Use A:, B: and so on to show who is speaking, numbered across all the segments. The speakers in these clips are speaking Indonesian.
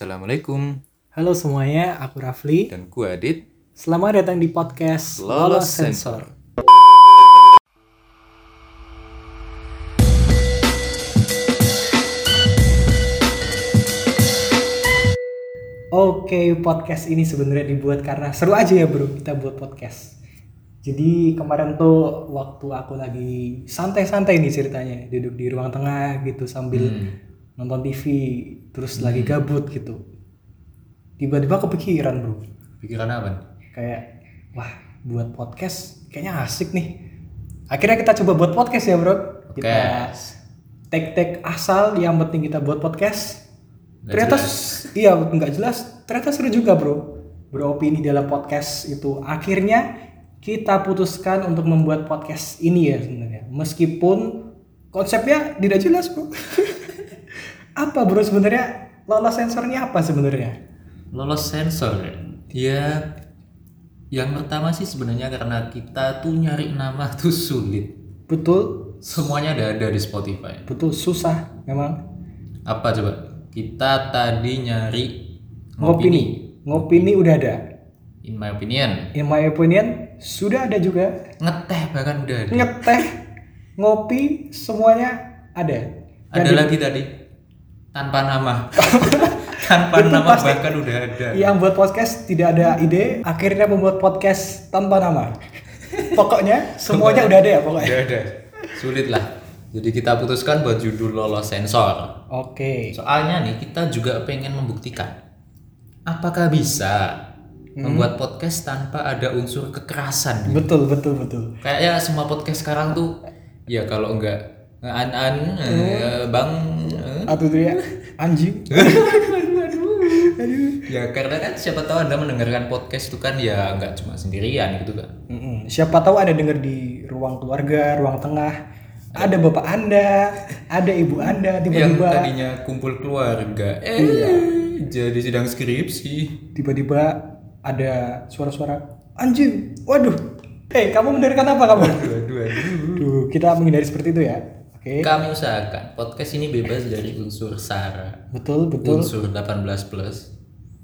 A: Assalamualaikum
B: Halo semuanya, aku Rafli.
A: dan ku Adit
B: Selamat datang di podcast Lolos Sensor. Oke, podcast ini sebenarnya dibuat karena seru aja ya bro, kita buat podcast. Jadi kemarin tuh waktu aku lagi santai-santai nih ceritanya, duduk di ruang tengah gitu sambil nonton TV, terus lagi gabut gitu. Tiba-tiba kepikiran bro,
A: Pikiran apa?
B: kayak wah buat podcast kayaknya asik nih. Akhirnya kita coba buat podcast ya bro. Kita tek-tek asal, yang penting kita buat podcast. ternyata iya nggak jelas ternyata seru juga bro beropini dalam podcast itu akhirnya kita putuskan untuk membuat podcast ini ya sebenarnya meskipun konsepnya tidak jelas bro apa bro sebenarnya lolos sensornya apa sebenarnya
C: lolos sensor
A: Iya.
C: ya yang pertama sih sebenarnya karena kita tuh nyari nama tuh sulit
B: betul
C: semuanya ada ada di Spotify
B: betul susah memang
C: apa coba kita tadi nyari
B: ngopini ngopini udah ada
C: in my opinion
B: in my opinion sudah ada juga
C: ngeteh bahkan udah ada
B: ngeteh ngopi semuanya ada
C: ada lagi tadi tanpa nama tanpa
B: Itu
C: nama
B: pasti. Iya.
C: bahkan udah ada
B: yang buat podcast tidak ada ide akhirnya membuat podcast tanpa nama pokoknya semuanya udah ada ya pokoknya
C: udah ada sulit lah jadi kita putuskan buat judul lolos sensor
B: oke
C: Soalnya nih kita juga pengen membuktikan apakah bisa membuat podcast tanpa ada unsur kekerasan.
B: betul betul betul
C: Kayaknya semua podcast sekarang tuh ya kalau enggak an-an bang eh,
B: atau dia anjing
C: ya karena kan siapa tahu Anda mendengarkan podcast itu kan ya enggak cuma sendirian gitu kan.
B: Mm-mm. siapa tahu ada denger di ruang keluarga ruang tengah ada bapak anda ada ibu anda
C: Yang
B: tiba-tiba
C: tadinya kumpul keluarga eh jadi sidang skripsi.
B: tiba-tiba ada suara-suara anjing waduh eh kamu mendengarkan apa kamu
C: Aduh, aduh.
B: Duh, kita menghindari seperti itu ya oke
C: Kami usahakan podcast ini bebas dari unsur sara.
B: betul betul
C: unsur 18 plus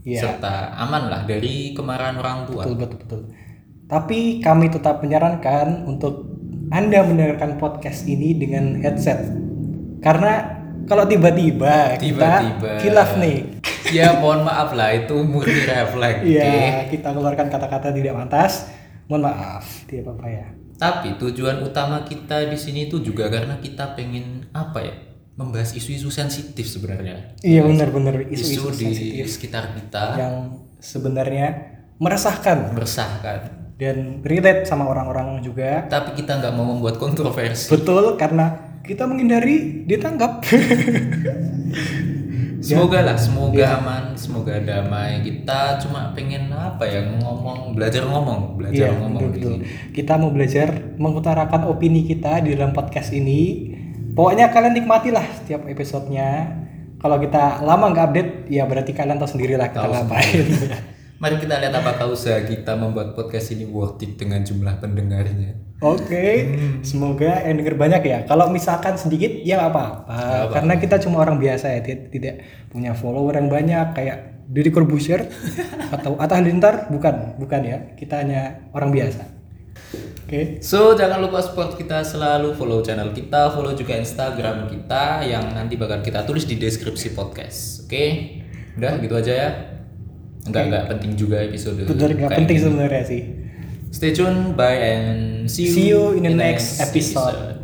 B: Iya.
C: serta aman lah dari kemarahan orang tua
B: Betul, betul, betul. Tapi kami tetap menyarankan untuk Anda mendengarkan podcast ini dengan headset. Karena kalau tiba-tiba kita
C: Tiba-tiba.
B: kilaf nih.
C: ya mohon maaf lah itu murni refleks
B: Iya,
C: oke?
B: kita keluarkan kata-kata tidak pantas. Mohon maaf, tidak apa-apa ya.
C: tapi tujuan utama kita di sini itu juga karena kita pengen apa ya membahas isu-isu sensitif sebenarnya
B: Iya, benar-benar
C: isu,
B: isu-isu
C: di
B: sensitif
C: sekitar kita
B: yang sebenarnya meresahkan
C: meresahkan
B: dan relate sama orang-orang juga.
C: tapi kita nggak mau membuat
B: Iya.
C: kontroversi
B: Betul, karena kita menghindari ditangkap.
C: semoga lah semoga
B: Iya.
C: aman semoga damai kita cuma pengen apa ya ngomong belajar ngomong belajar
B: Iya,
C: ngomong gitu.
B: betul,
C: di
B: betul.
C: sini.
B: Kita mau belajar mengutarakan opini kita di dalam podcast ini. Pokoknya kalian nikmatilah setiap episodenya. Kalau kita lama nggak update, ya berarti kalian tahu sendirilah kita
C: Tahu
B: ngapain.
C: Mari kita lihat apakah usaha kita membuat podcast ini worth it dengan jumlah pendengarnya.
B: Oke, semoga yang denger banyak ya. Kalau misalkan sedikit, ya nggak apa-apa. Karena kita cuma orang biasa ya, tidak, tidak punya follower yang banyak kayak Deddy Corbuzier atau Atta Halilintar. Bukan, bukan ya. Kita hanya orang biasa. Oke.
C: So, jangan lupa support kita selalu, follow channel kita, follow juga Instagram kita yang nanti bakal kita tulis di deskripsi podcast. Oke? Udah gitu aja ya. Enggak enggak penting juga episode.
B: Bener nggak
C: kayak
B: penting
C: gini.
B: sebenarnya sih.
C: Stay tune, bye and see you,
B: See you in the next episode.